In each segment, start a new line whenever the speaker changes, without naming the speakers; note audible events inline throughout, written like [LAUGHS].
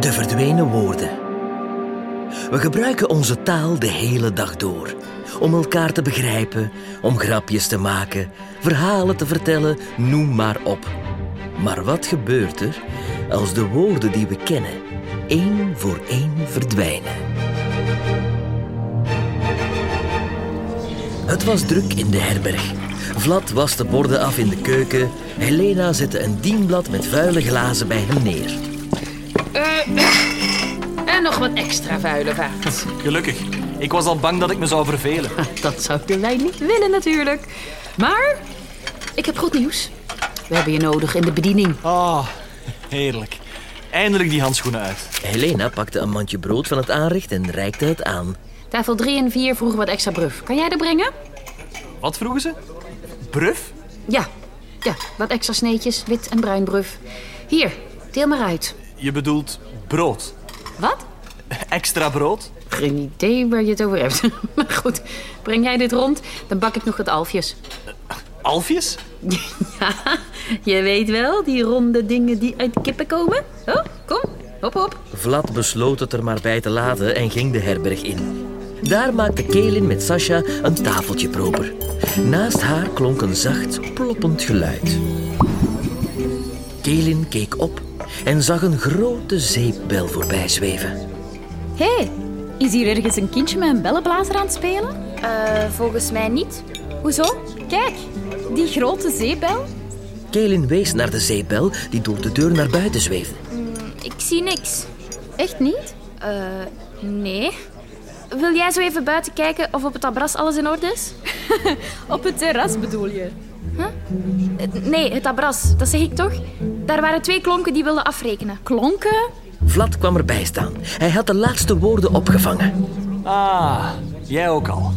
verdwenen woorden. We gebruiken onze taal de hele dag door. Om elkaar te begrijpen, om grapjes te maken, verhalen te vertellen, noem maar op. Maar wat gebeurt er als de woorden die we kennen één voor één verdwijnen? Het was druk in de herberg. Vlad was de borden af in de keuken. Helena zette een dienblad met vuile glazen bij hem neer.
En nog wat extra vuile vaat.
Gelukkig. Ik was al bang dat ik me zou vervelen.
[LAUGHS] Dat zouden wij niet willen natuurlijk. Maar ik heb goed nieuws. We hebben je nodig in de bediening.
Ah, heerlijk. Eindelijk die handschoenen uit.
Helena pakte een mandje brood van het aanrecht en reikte het aan.
Tafel 3 en 4 vroegen wat extra bruf. Kan jij er brengen?
Wat vroegen ze? Bruf?
Ja. Ja, wat extra sneetjes, wit en bruin bruf. Hier, deel maar uit.
Je bedoelt brood.
Wat?
Extra brood?
Geen idee waar je het over hebt. [LAUGHS] Maar goed, breng jij dit rond, dan bak ik nog wat alfjes.
Alfjes?
Ja, [LAUGHS] je weet wel, die ronde dingen die uit kippen komen. Oh, kom, hop hop.
Vlad besloot het er maar bij te laten en ging de herberg in. Daar maakte Kelin met Sasha een tafeltje proper. Naast haar klonk een zacht, ploppend geluid. Kelin keek op en zag een grote zeepbel voorbij zweven.
Hé, is hier ergens een kindje met een bellenblazer aan het spelen?
Eh, volgens mij niet.
Hoezo? Kijk, die grote zeebel.
Kelin wees naar de zeepbel die door de deur naar buiten zweefde.
Ik zie niks.
Echt niet?
Eh, nee. Wil jij zo even buiten kijken of op het terras alles in orde is?
[LAUGHS] Op het terras bedoel je?
Eh, nee, het terras. Dat zeg ik toch? Daar waren twee klonken die wilden afrekenen.
Klonken?
Vlad kwam erbij staan. Hij had de laatste woorden opgevangen.
Ah, jij ook al.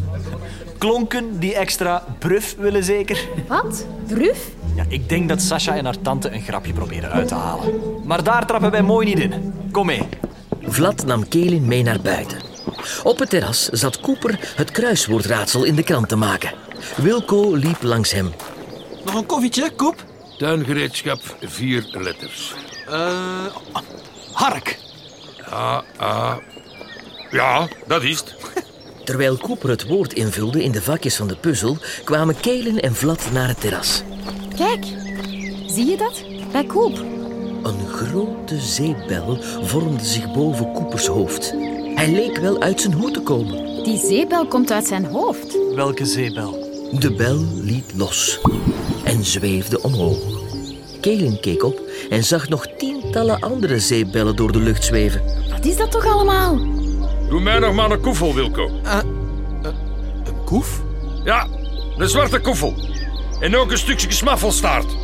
Klonken die extra bruf willen zeker?
Wat?
Bruf?
Ja, ik denk dat Sasha en haar tante een grapje proberen uit te halen. Maar daar trappen wij mooi niet in. Kom mee.
Vlad nam Kelin mee naar buiten. Op het terras zat Cooper het kruiswoordraadsel in de krant te maken. Wilco liep langs hem.
Nog een koffietje, Koep?
Tuingereedschap, vier letters.
Eh,
Hark.
Ja, dat is het.
Terwijl Cooper het woord invulde in de vakjes van de puzzel, kwamen Kelen en Vlad naar het terras.
Kijk, zie je dat? Bij Koop.
Een grote zeepbel vormde zich boven Coopers hoofd. Hij leek wel uit zijn hoed te komen.
Die zeebel komt uit zijn hoofd.
Welke zeebel?
De bel liet los en zweefde omhoog. Kelen keek op en zag nog tientallen andere zeepbellen door de lucht zweven.
Wat is dat toch allemaal?
Doe mij nog maar een koefel, Wilco.
Eh, een koef?
Ja, een zwarte koefel. En ook een stukje smaffelstaart.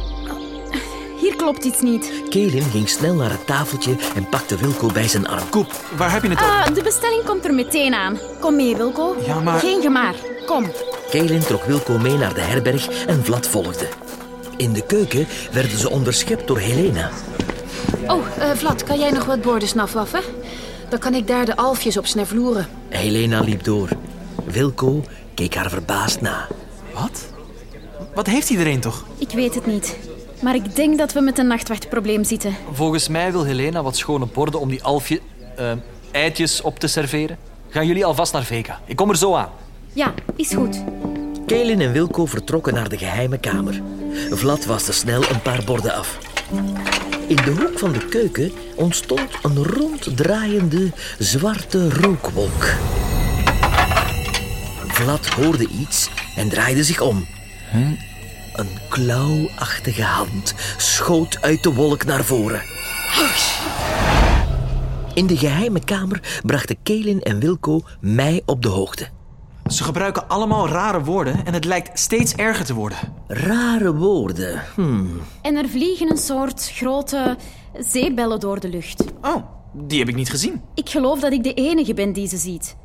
Hier klopt iets niet.
Kelen ging snel naar het tafeltje en pakte Wilco bij zijn arm.
Koep, waar heb je het over?
Ah, de bestelling komt er meteen aan. Kom mee, Wilco.
Ja, maar-
Geen gemaar. Kom.
Kaelin trok Wilco mee naar de herberg en Vlad volgde. In de keuken werden ze onderschept door Helena.
Oh, eh, Vlad, kan jij nog wat borden snafwaffen? Dan kan ik daar de alfjes op snervloeren.
Helena liep door. Wilco keek haar verbaasd na.
Wat? Wat heeft iedereen toch?
Ik weet het niet. Maar ik denk dat we met een nachtwachtprobleem zitten.
Volgens mij wil Helena wat schone borden om die alfje... eh, eitjes op te serveren. Gaan jullie alvast naar Vega. Ik kom er zo aan.
Ja, is goed.
Kaelin en Wilco vertrokken naar de geheime kamer. Vlad waste snel een paar borden af. In de hoek van de keuken ontstond een ronddraaiende zwarte rookwolk. Vlad hoorde iets en draaide zich om. Een klauwachtige hand schoot uit de wolk naar voren. In de geheime kamer brachten Kaelin en Wilco mij op de hoogte.
Ze gebruiken allemaal rare woorden en het lijkt steeds erger te worden.
Rare woorden.
En er vliegen een soort grote zeebellen door de lucht.
Oh, die heb ik niet gezien.
Ik geloof dat ik de enige ben die ze ziet.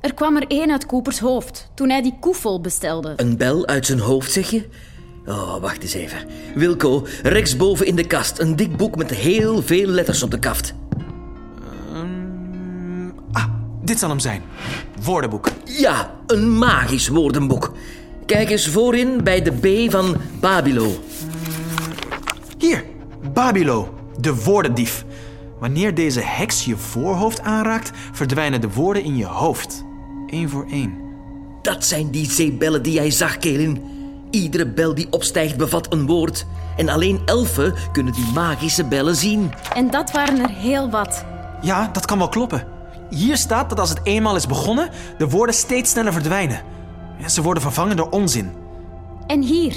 Er kwam er één uit Coopers hoofd toen hij die koefel bestelde.
Een bel uit zijn hoofd, zeg je? Oh, wacht eens even. Wilco, rechtsboven in de kast. Een dik boek met heel veel letters op de kaft.
Dit zal hem zijn. Woordenboek.
Ja, een magisch woordenboek. Kijk eens voorin bij de B van Babilo.
Hier, Babilo, de woordendief.
Wanneer deze heks je voorhoofd aanraakt, verdwijnen de woorden in je hoofd. Eén voor één.
Dat zijn die zeebellen die jij zag, Kelin. Iedere bel die opstijgt bevat een woord. En alleen elfen kunnen die magische bellen zien.
En dat waren er heel wat.
Ja, dat kan wel kloppen. Hier staat dat als het eenmaal is begonnen, de woorden steeds sneller verdwijnen. Ja, Ze worden vervangen door onzin.
En hier.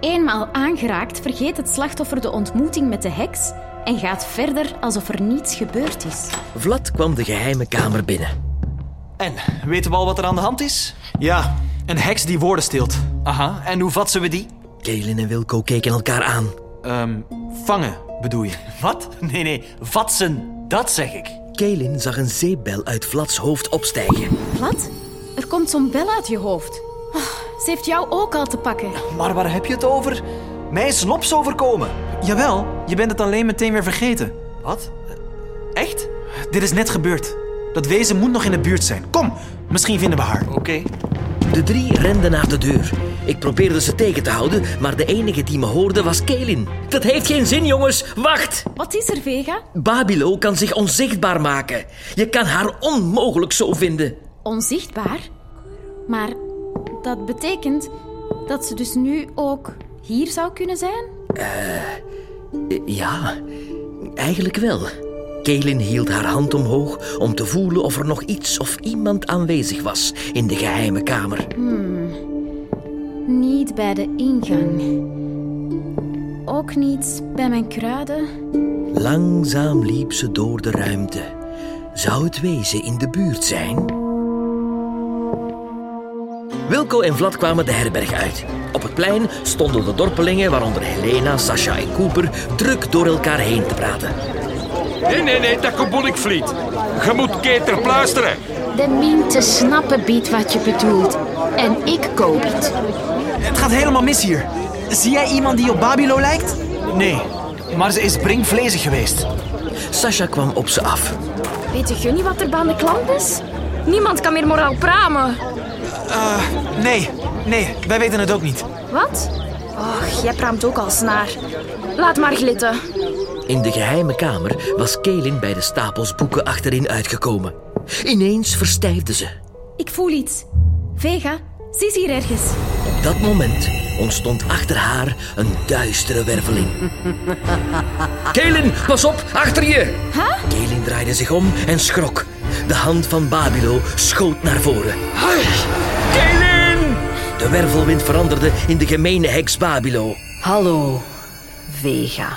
Eenmaal aangeraakt vergeet het slachtoffer de ontmoeting met de heks en gaat verder alsof er niets gebeurd is.
Vlad kwam de geheime kamer binnen.
En, weten we al wat er aan de hand is?
Ja, een heks die woorden steelt.
Aha, en hoe vatsen we die?
Kelin en Wilco keken elkaar aan.
Ehm, vangen bedoel je.
Wat? [LAUGHS] Nee, nee, vatsen. Dat zeg ik.
Kelin zag een zeebel uit Vlads hoofd opstijgen.
Wat? Er komt zo'n bel uit je hoofd. Oh, ze heeft jou ook al te pakken.
Maar waar heb je het over? Mij is lops overkomen.
Jawel, je bent het alleen meteen weer vergeten.
Wat? Echt?
Dit is net gebeurd. Dat wezen moet nog in de buurt zijn. Kom, misschien vinden we haar.
Oké.
De drie renden naar de deur. Ik probeerde ze tegen te houden, maar de enige die me hoorde was Kelin. Dat heeft geen zin, jongens. Wacht!
Wat is er, Vega?
Babilo kan zich onzichtbaar maken. Je kan haar onmogelijk zo vinden.
Onzichtbaar. Maar dat betekent dat ze dus nu ook hier zou kunnen zijn?
Eh, Ja, eigenlijk wel. Kaelin hield haar hand omhoog om te voelen of er nog iets of iemand aanwezig was in de geheime kamer.
Niet bij de ingang. Ook niet bij mijn kruiden.
Langzaam liep ze door de ruimte. Zou het wezen in de buurt zijn? Wilco en Vlad kwamen de herberg uit. Op het plein stonden de dorpelingen, waaronder Helena, Sasha en Cooper, druk door elkaar heen te praten.
Nee, nee, nee, dat komt ik vliet. Je moet keter pluisteren.
De minte snappen biedt wat je bedoelt. En ik koop het.
Het gaat helemaal mis hier. Zie jij iemand die op Babilo lijkt?
Nee, maar ze is brinkvlezig geweest.
Sasha kwam op ze af.
Weet je niet wat er bij aan de klant is? Niemand kan meer moraal pramen.
Nee, nee, wij weten het ook niet.
Wat? Och, jij praamt ook al snaar. Laat maar glitten.
In de geheime kamer was Kaelin bij de stapels boeken achterin uitgekomen. Ineens verstijfde ze.
Ik voel iets. Vega, ze is hier ergens.
Op dat moment ontstond achter haar een duistere werveling. [LAUGHS] Kaelin, pas op, achter je! Kaelin draaide zich om en schrok. De hand van Babilo schoot naar voren.
Kaelin!
De wervelwind veranderde in de gemene heks Babilo.
Hallo, Vega.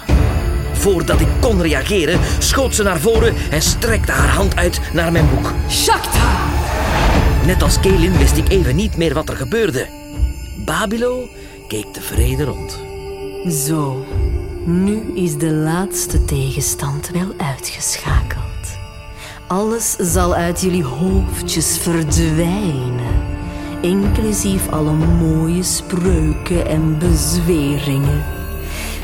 Voordat ik kon reageren, schoot ze naar voren en strekte haar hand uit naar mijn boek.
Shakta!
Net als Kaelin wist ik even niet meer wat er gebeurde. Babilo keek tevreden rond.
Zo, nu is de laatste tegenstand wel uitgeschakeld. Alles zal uit jullie hoofdjes verdwijnen. Inclusief alle mooie spreuken en bezweringen.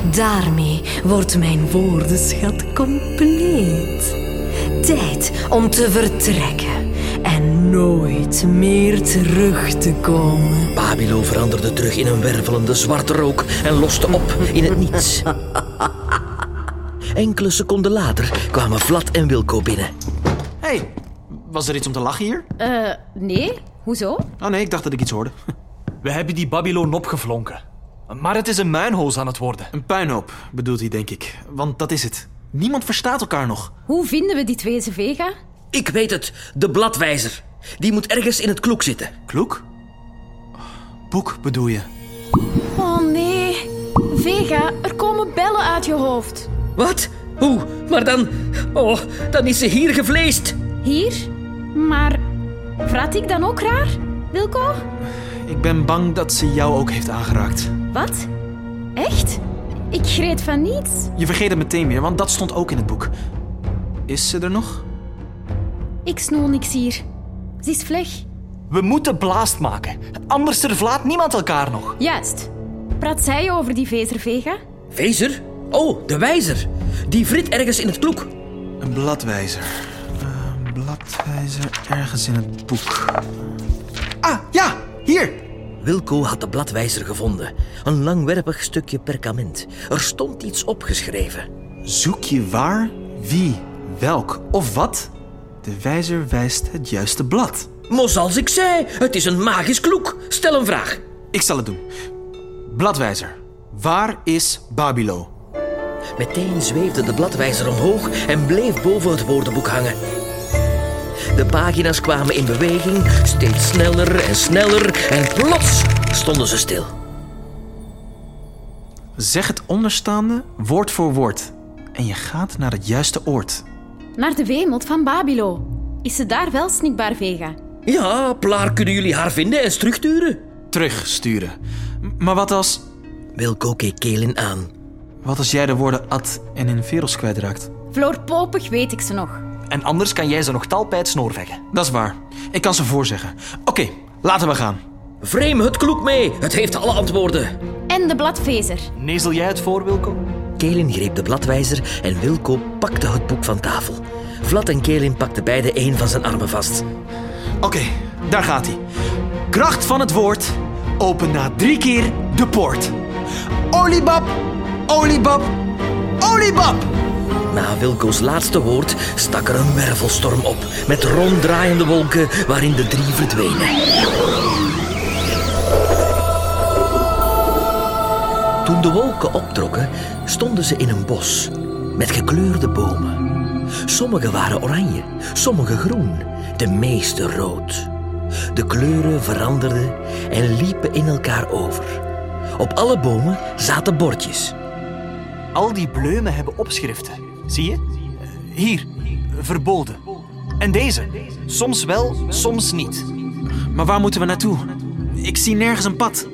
Daarmee wordt mijn woordenschat compleet. Tijd om te vertrekken en nooit meer terug te komen.
Babilo veranderde terug in een wervelende zwarte rook en loste op in het niets. Enkele seconden later kwamen Vlad en Wilco binnen.
hey, was er iets om te lachen hier?
Eh, nee? Hoezo?
Oh nee, ik dacht dat ik iets hoorde.
We hebben die Babylon opgevlonken. Maar het is een muinhoos aan het worden.
Een puinhoop bedoelt hij, denk ik. Want dat is het. Niemand verstaat elkaar nog.
Hoe vinden we dit wezen, Vega?
Ik weet het, de bladwijzer. Die moet ergens in het kloek zitten.
Kloek? Boek bedoel je?
Oh nee. Vega, er komen bellen uit je hoofd.
Wat? Hoe? Maar dan... Oh, dan is ze hier gevleesd.
Hier? Maar praat ik dan ook raar? Wilco?
Ik ben bang dat ze jou ook heeft aangeraakt.
Wat? Echt? Ik greet van niets.
Je vergeet het meteen weer, want dat stond ook in het boek. Is ze er nog?
Ik snoel niks hier. Ze is vleg.
We moeten blaast maken. Anders verlaat niemand elkaar nog.
Juist. Praat zij over die vezer, Vega?
Wezer? Oh, de wijzer. Die vrit ergens in het kloek.
Een bladwijzer. Een bladwijzer ergens in het boek. Ah, ja, hier!
Wilco had de bladwijzer gevonden. Een langwerpig stukje perkament. Er stond iets opgeschreven.
Zoek je waar, Wie, welk of wat? De wijzer wijst het juiste blad.
Maar zoals ik zei, het is een magisch kloek. Stel een vraag.
Ik zal het doen. Bladwijzer, waar is Babilo?
Meteen zweefde de bladwijzer omhoog en bleef boven het woordenboek hangen. De pagina's kwamen in beweging, steeds sneller en sneller en plots stonden ze stil.
Zeg het onderstaande woord voor woord. En je gaat naar het juiste oord.
Naar de wemelt van Babilo. Is ze daar wel snikbaar Vega?
Ja, plaar kunnen jullie haar vinden en terugduren.
Terugsturen. M- Maar wat als...
Wilco keek Kelin aan.
Wat als jij de woorden at en in veros kwijtraakt?
Floorpopig weet ik ze nog.
En anders kan jij ze nog tal bij het snoer veggen.
Dat is waar. Ik kan ze voorzeggen. Oké, laten we gaan.
Vreem het kloek mee, het heeft alle antwoorden.
En de bladvezer.
Nezel jij het voor, Wilco?
Kelin greep de bladwijzer en Wilco pakte het boek van tafel. Vlad en Kelin pakten beide een van zijn armen vast.
Oké, daar gaat hij. Kracht van het woord. Open na drie keer de poort. Oliebab, oliebab, oliebab.
Na Wilco's laatste woord stak er een wervelstorm op, met ronddraaiende wolken waarin de drie verdwenen. Toen de wolken optrokken, stonden ze in een bos met gekleurde bomen. Sommige waren oranje, sommige groen, de meeste rood. De kleuren veranderden en liepen in elkaar over. Op alle bomen zaten bordjes.
Al die bleumen hebben opschriften. Zie je? Eh, Hier, verboden. En deze, soms wel, soms niet.
Maar waar moeten we naartoe? Ik zie nergens een pad.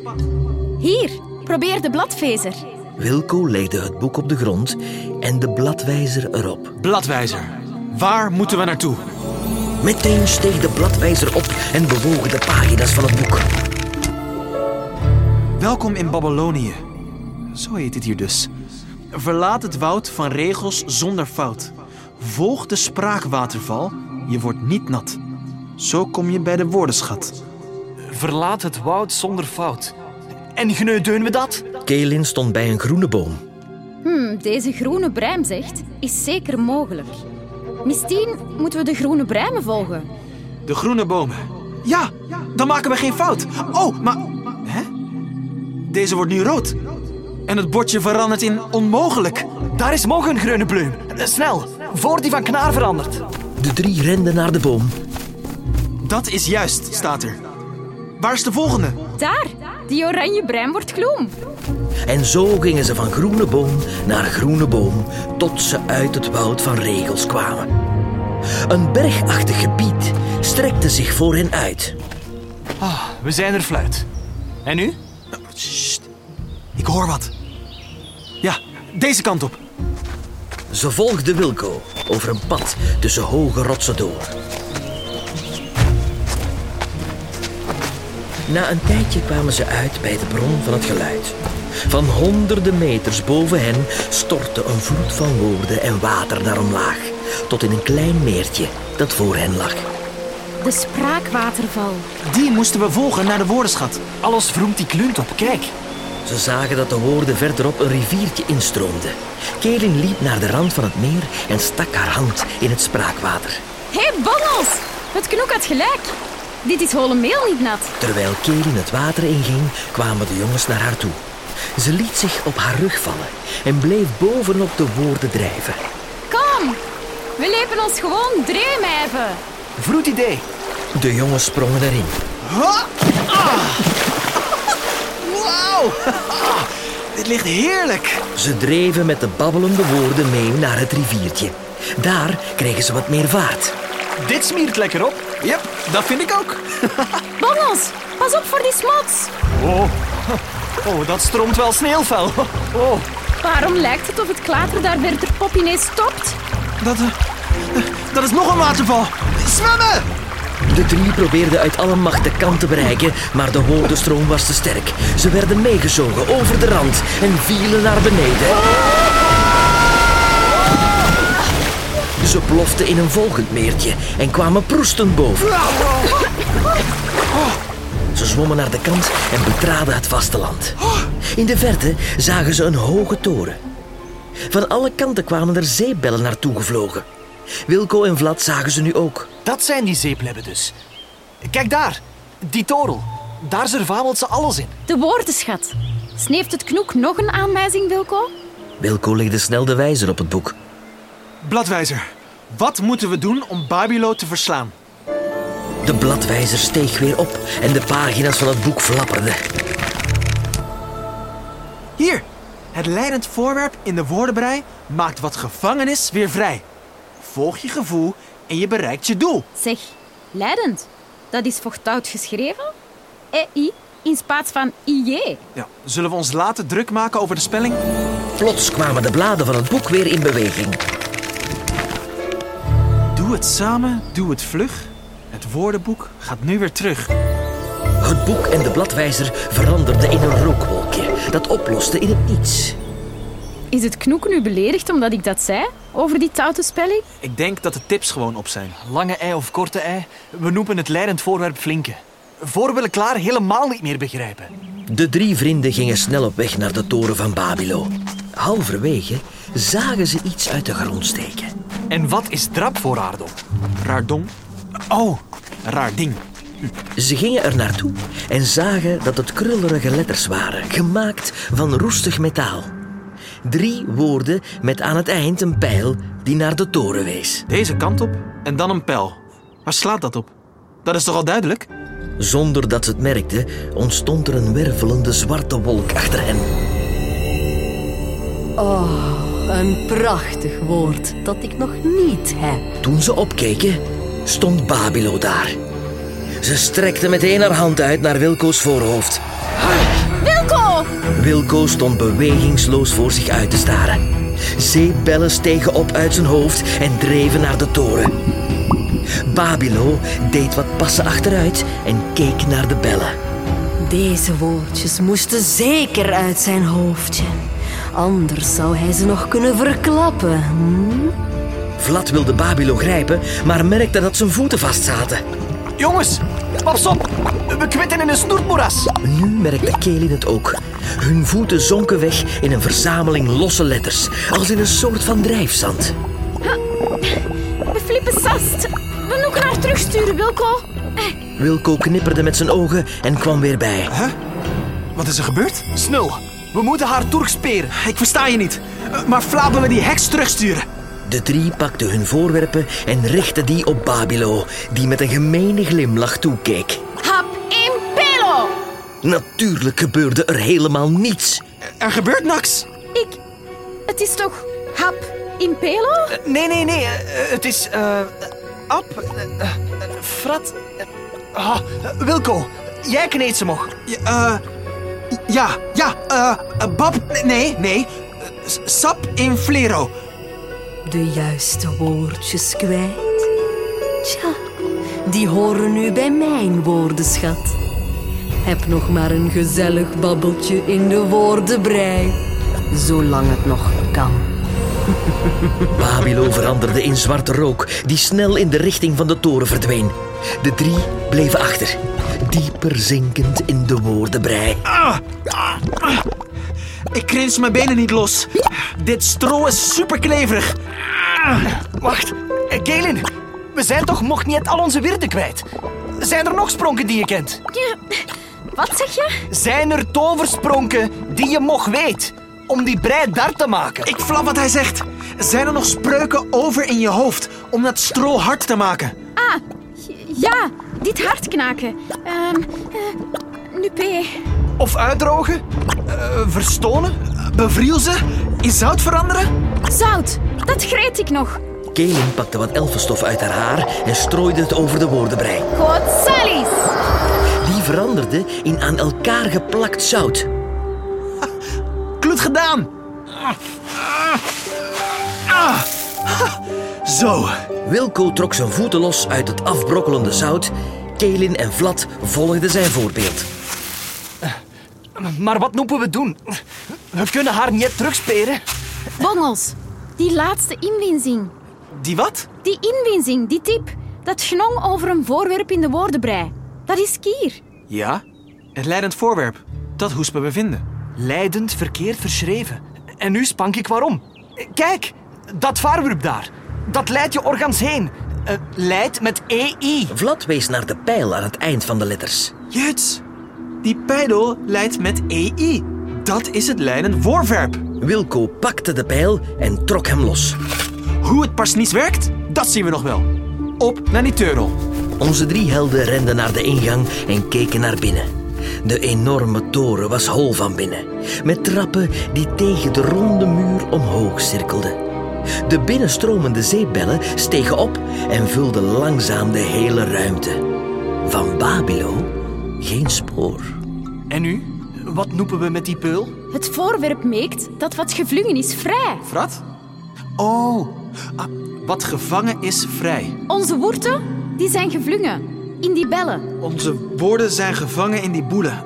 Hier, probeer de bladvezer.
Wilco legde het boek op de grond en de bladwijzer erop.
Bladwijzer, waar moeten we naartoe?
Meteen steeg de bladwijzer op en bewogen de pagina's van het boek.
Welkom in Babylonië. Zo heet het hier dus. Verlaat het woud van regels zonder fout. Volg de spraakwaterval, je wordt niet nat. Zo kom je bij de woordenschat.
Verlaat het woud zonder fout. En gneudeun we dat?
Kelin stond bij een groene boom.
Hm, deze groene bruim zegt, is zeker mogelijk. Misschien moeten we de groene bruimen volgen.
De groene bomen. Ja, dan maken we geen fout. Oh, maar... Hè? Deze wordt nu rood. En het bordje verandert in onmogelijk.
Daar is nog een groene bloem. Eh, Snel, voor die van Knaar verandert.
De drie renden naar de boom.
Dat is juist, staat er. Waar is de volgende?
Daar, die oranje bruim wordt gloem.
En zo gingen ze van groene boom naar groene boom, tot ze uit het woud van regels kwamen. Een bergachtig gebied strekte zich voor hen uit.
We zijn er fluit. En nu?
Sst, ik hoor wat. Ja, deze kant op.
Ze volgden Wilco over een pad tussen hoge rotsen door. Na een tijdje kwamen ze uit bij de bron van het geluid. Van honderden meters boven hen stortte een vloed van woorden en water naar omlaag, tot in een klein meertje dat voor hen lag.
De spraakwaterval.
Die moesten we volgen naar de woordenschat.
Alles vroemt die klunt op, kijk.
Ze zagen dat de woorden verderop een riviertje instroomde. Kelin liep naar de rand van het meer en stak haar hand in het spraakwater.
Hé, hey, Bonnels! Het knoek had gelijk. Dit is holemeel niet nat.
Terwijl Kelin het water inging, kwamen de jongens naar haar toe. Ze liet zich op haar rug vallen en bleef bovenop de woorden drijven.
Kom, we lepen ons gewoon dreumijven.
Vroet idee.
De jongens sprongen erin.
Wauw! Dit ligt heerlijk.
Ze dreven met de babbelende woorden mee naar het riviertje. Daar kregen ze wat meer vaart.
Dit smiert lekker op.
Yep, dat vind ik ook.
Bonnels, pas op voor die smots.
Oh, oh dat stroomt wel sneeuwvel. [LAUGHS] Oh.
Waarom lijkt het of het klater daar bij de pop ineens stopt?
Dat, eh, dat is nog een waterval. Zwemmen!
De drie probeerden uit alle macht de kant te bereiken, maar de woordenstroom was te sterk. Ze werden meegezogen over de rand en vielen naar beneden. Ze ploften in een volgend meertje en kwamen proestend boven. Ze zwommen naar de kant en betraden het vasteland. In de verte zagen ze een hoge toren. Van alle kanten kwamen er zeebellen naartoe gevlogen. Wilco en Vlad zagen ze nu ook.
Dat zijn die zeeplebben dus. Kijk daar, die torel. Daar zervamelt ze alles in.
De woordenschat. Sneeft het knoek nog een aanwijzing, Wilco?
Wilco legde snel de wijzer op het boek.
Bladwijzer, wat moeten we doen om Babilo te verslaan?
De bladwijzer steeg weer op en de pagina's van het boek flapperden.
Hier, het leidend voorwerp in de woordenbrei maakt wat gevangenis weer vrij. Volg je gevoel en je bereikt je doel.
Zeg, leidend. Dat is vochtout geschreven? E-I in plaats van I-J.
Ja, zullen we ons later druk maken over de spelling?
Plots kwamen de bladen van het boek weer in beweging.
Doe het samen, doe het vlug. Het woordenboek gaat nu weer terug.
Het boek en de bladwijzer veranderden in een rookwolkje dat oploste in het niets.
Is het knoek nu beledigd omdat ik dat zei? Over die touwtenspelling?
Ik denk dat de tips gewoon op zijn.
Lange ei of korte ei, we noemen het leidend voorwerp flinke. Voor willen klaar helemaal niet meer begrijpen.
De drie vrienden gingen snel op weg naar de toren van Babilo. Halverwege zagen ze iets uit de grond steken.
En wat is drap voor aardel?
Raar dom. Oh, raar ding.
Ze gingen er naartoe en zagen dat het krullerige letters waren, gemaakt van roestig metaal. Drie woorden met aan het eind een pijl die naar de toren wees.
Deze kant op en dan een pijl. Waar slaat dat op? Dat is toch al duidelijk?
Zonder dat ze het merkten, ontstond er een wervelende zwarte wolk achter hen.
Een prachtig woord dat ik nog niet heb.
Toen ze opkeken, stond Babilo daar. Ze strekte meteen haar hand uit naar Wilco's voorhoofd.
Wilco!
Wilco stond bewegingsloos voor zich uit te staren. Zeepbellen stegen op uit zijn hoofd en dreven naar de toren. Babilo deed wat passen achteruit en keek naar de bellen.
Deze woordjes moesten zeker uit zijn hoofdje. Anders zou hij ze nog kunnen verklappen. hm?
Vlad wilde Babilo grijpen, maar merkte dat zijn voeten vastzaten.
Jongens, pas op! We kwitten in een snoertmoeras.
Nu merkte Kelin het ook. Hun voeten zonken weg in een verzameling losse letters, als in een soort van drijfzand.
We flippen sast. We noeken haar terugsturen, Wilco.
Wilco knipperde met zijn ogen en kwam weer bij.
Wat is er gebeurd?
Snul, we moeten haar doorsperen.
Ik versta je niet. Eh, Maar flapen we die heks terugsturen?
De drie pakten hun voorwerpen en richtten die op Babilo, die met een gemene glimlach toekeek.
Hap in pelo!
Natuurlijk gebeurde er helemaal niets.
Er gebeurt niks.
Ik... Het is toch hap in pelo?
Nee, nee, nee. eh, eh, het is... eh, ap. eh, eh, frat. eh, ah, eh, Wilco, jij kneedt ze nog.
Ja, eh, ja, ja, eh, eh, bab, nee, nee. Eh, s- Sap in flero.
De juiste woordjes kwijt. Tja, die horen nu bij mijn woordenschat. Heb nog maar een gezellig babbeltje in de woordenbrei. Zolang het nog kan.
Babilo veranderde in zwarte rook, die snel in de richting van de toren verdween. De drie bleven achter, dieper zinkend in de woordenbrei.
Ik krins mijn benen niet los. Dit stro is superkleverig.
Wacht, eh, Galen. We zijn toch nog niet al onze wirden kwijt? Zijn er nog spronken die je kent?
Wat zeg je?
Zijn er toverspronken die je nog weet? Om die brei daar te maken.
Ik flap wat hij zegt. Zijn er nog spreuken over in je hoofd om dat stro hard te maken?
Ja, dit hart knaken. Ehm eh, nupé.
Of uitdrogen? eh, verstonen?
Bevriel ze? In zout veranderen?
Zout, dat greet ik nog.
Kelin pakte wat elfenstof uit haar haar en strooide het over de woordenbrei.
God salis.
Die veranderde in aan elkaar geplakt zout.
Klut gedaan. Ah. Ha. Zo.
Wilco trok zijn voeten los uit het afbrokkelende zout. Kelin en Vlad volgden zijn voorbeeld.
Maar wat moeten we doen? We kunnen haar niet terugsperen.
Bongels, die laatste inwinzing.
Die wat?
Die inwinzing, die tip. Dat gnong over een voorwerp in de woordenbrei. Dat is kier.
Ja. Het leidend voorwerp. Dat hoest me bevinden.
Leidend verkeerd verschreven. En nu spank ik waarom. Kijk, dat vaarwerp daar. Dat leidt je organs heen. Eh, leidt met E EI.
Vlad wees naar de pijl aan het eind van de letters.
Juts, die pijl leidt met EI. Dat is het leidend voorwerp.
Wilco pakte de pijl en trok hem los.
Hoe het pas niet werkt, dat zien we nog wel. Op naar die turtle.
Onze drie helden renden naar de ingang en keken naar binnen. De enorme toren was hol van binnen, met trappen die tegen de ronde muur omhoog cirkelden. De binnenstromende zeepbellen stegen op en vulden langzaam de hele ruimte. Van Babilo geen spoor.
En nu? Wat noepen we met die peul?
Het voorwerp meekt dat wat gevlungen is vrij.
Frat? Oh, ah, wat gevangen is vrij.
Onze worten, die zijn gevlungen. In die bellen.
Onze woorden zijn gevangen in die boelen.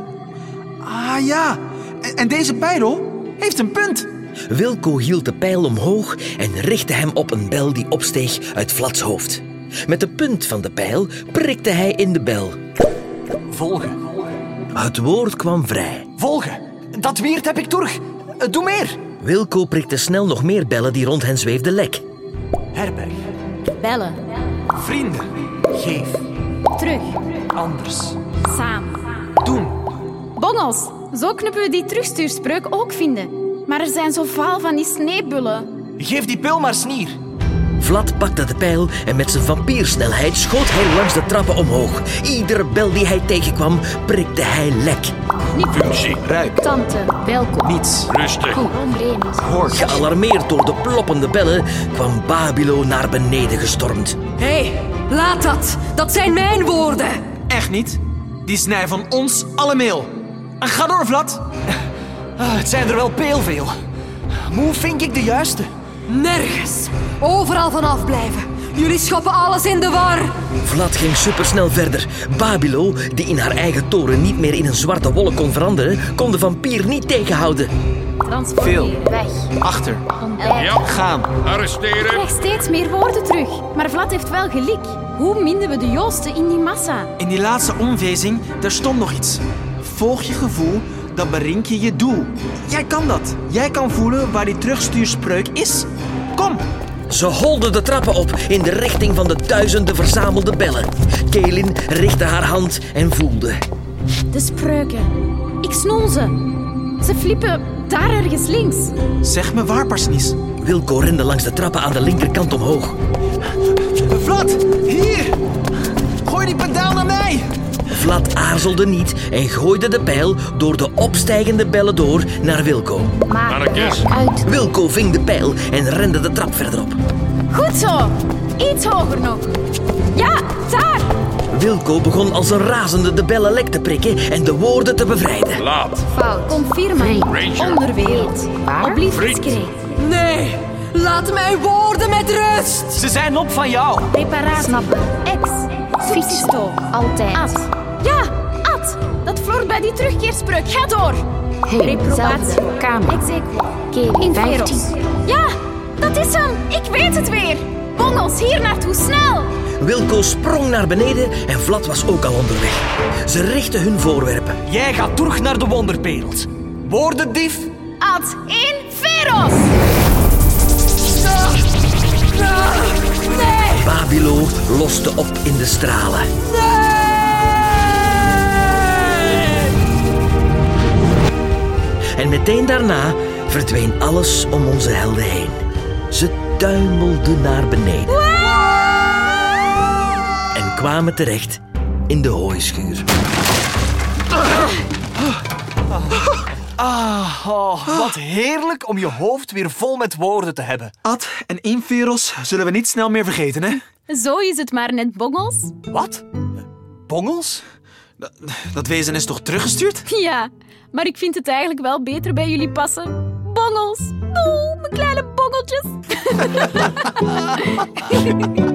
Ah ja, en, en deze pijl heeft een punt.
Wilco hield de pijl omhoog en richtte hem op een bel die opsteeg uit Vlads hoofd. Met de punt van de pijl prikte hij in de bel.
Volgen.
Het woord kwam vrij.
Volgen. Dat wierd heb ik terug. Eh, Doe meer.
Wilco prikte snel nog meer bellen die rond hen zweefden lek.
Herberg.
Bellen.
Vrienden. Geef.
Terug.
Anders.
Samen.
Doen.
Bongels. Zo knuppen we die terugstuurspreuk ook vinden. Maar er zijn zoveel van die sneebullen.
Geef die peul maar snier.
Vlad pakte de pijl en met zijn vampiersnelheid schoot hij langs de trappen omhoog. Iedere bel die hij tegenkwam, prikte hij lek.
Functie.
Ruik.
Tante, welkom.
Niets.
Rustig.
Probleem is.
Hoor.
Gealarmeerd door de ploppende bellen kwam Babilo naar beneden gestormd.
Hé, laat dat. Dat zijn mijn woorden.
Echt niet. Die snij van ons allemaal. En ga door, Vlad.
Ah, het zijn er wel peelveel. Moe vink ik de juiste.
Nergens. Overal vanaf blijven. Jullie schoppen alles in de war.
Vlad ging supersnel verder. Babilo, die in haar eigen toren niet meer in een zwarte wolk kon veranderen, kon de vampier niet tegenhouden.
Veel.
Weg.
Achter.
Ja,
Gaan.
Ik
arresteren.
krijg steeds meer woorden terug. Maar Vlad heeft wel gelijk. Hoe minden we de Joosten in die massa?
In die laatste omvezing, daar stond nog iets. Volg je gevoel, dan bereik je je doel. Jij kan dat. Jij kan voelen waar die terugstuurspreuk is. Kom.
Ze holden de trappen op in de richting van de duizenden verzamelde bellen. Kaelin richtte haar hand en voelde.
De spreuken. Ik snoel ze. Ze flippen daar ergens links.
Zeg me waar, Parsnies.
Wilco rende langs de trappen aan de linkerkant omhoog.
Vlad, hier. Gooi die pedaal naar mij.
Vlad aarzelde niet en gooide de pijl door de opstijgende bellen door naar Wilco.
Maak
Mannekes.
eruit.
Wilco ving de pijl en rende de trap verder op.
Goed zo. Iets hoger nog. Ja, daar.
Wilco begon als een razende de bellen lek te prikken en de woorden te bevrijden.
Laat.
Fout.
Confirma.
Ranger.
Onderwereld.
Waar?
Oblief
Vriend.
discreet.
Nee, laat mijn woorden met rust.
Ze zijn op van jou.
Reparatie.
Snappen.
Ex. Subsisto.
Altijd.
Ad. Ja, ad. Dat vloort bij die terugkeerspreuk. Ga door.
Heen.
Reprobatie.
Zelfde. Kamer.
Exequo.
Kering.
Inferos.
15.
Ja, dat is hem. Ik weet het weer. Bongels, hier naartoe, snel.
Wilco sprong naar beneden en Vlad was ook al onderweg. Ze richtten hun voorwerpen.
Jij gaat terug naar de wonderperels. Woordendief.
Ad. Inferos.
Babilo loste op in de stralen. En meteen daarna verdween alles om onze helden heen. Ze tuimelden naar beneden. En kwamen terecht in de hooischuur.
Oh, wat heerlijk om je hoofd weer vol met woorden te hebben.
Ad en Inferos zullen we niet snel meer vergeten, hè?
Zo is het maar net, Bongels. [LAUGHS]
Wat? Bongels?
Dat wezen is toch teruggestuurd?
Ja, maar ik vind het eigenlijk wel beter bij jullie passen. Bongels. Oeh, mijn kleine bongeltjes.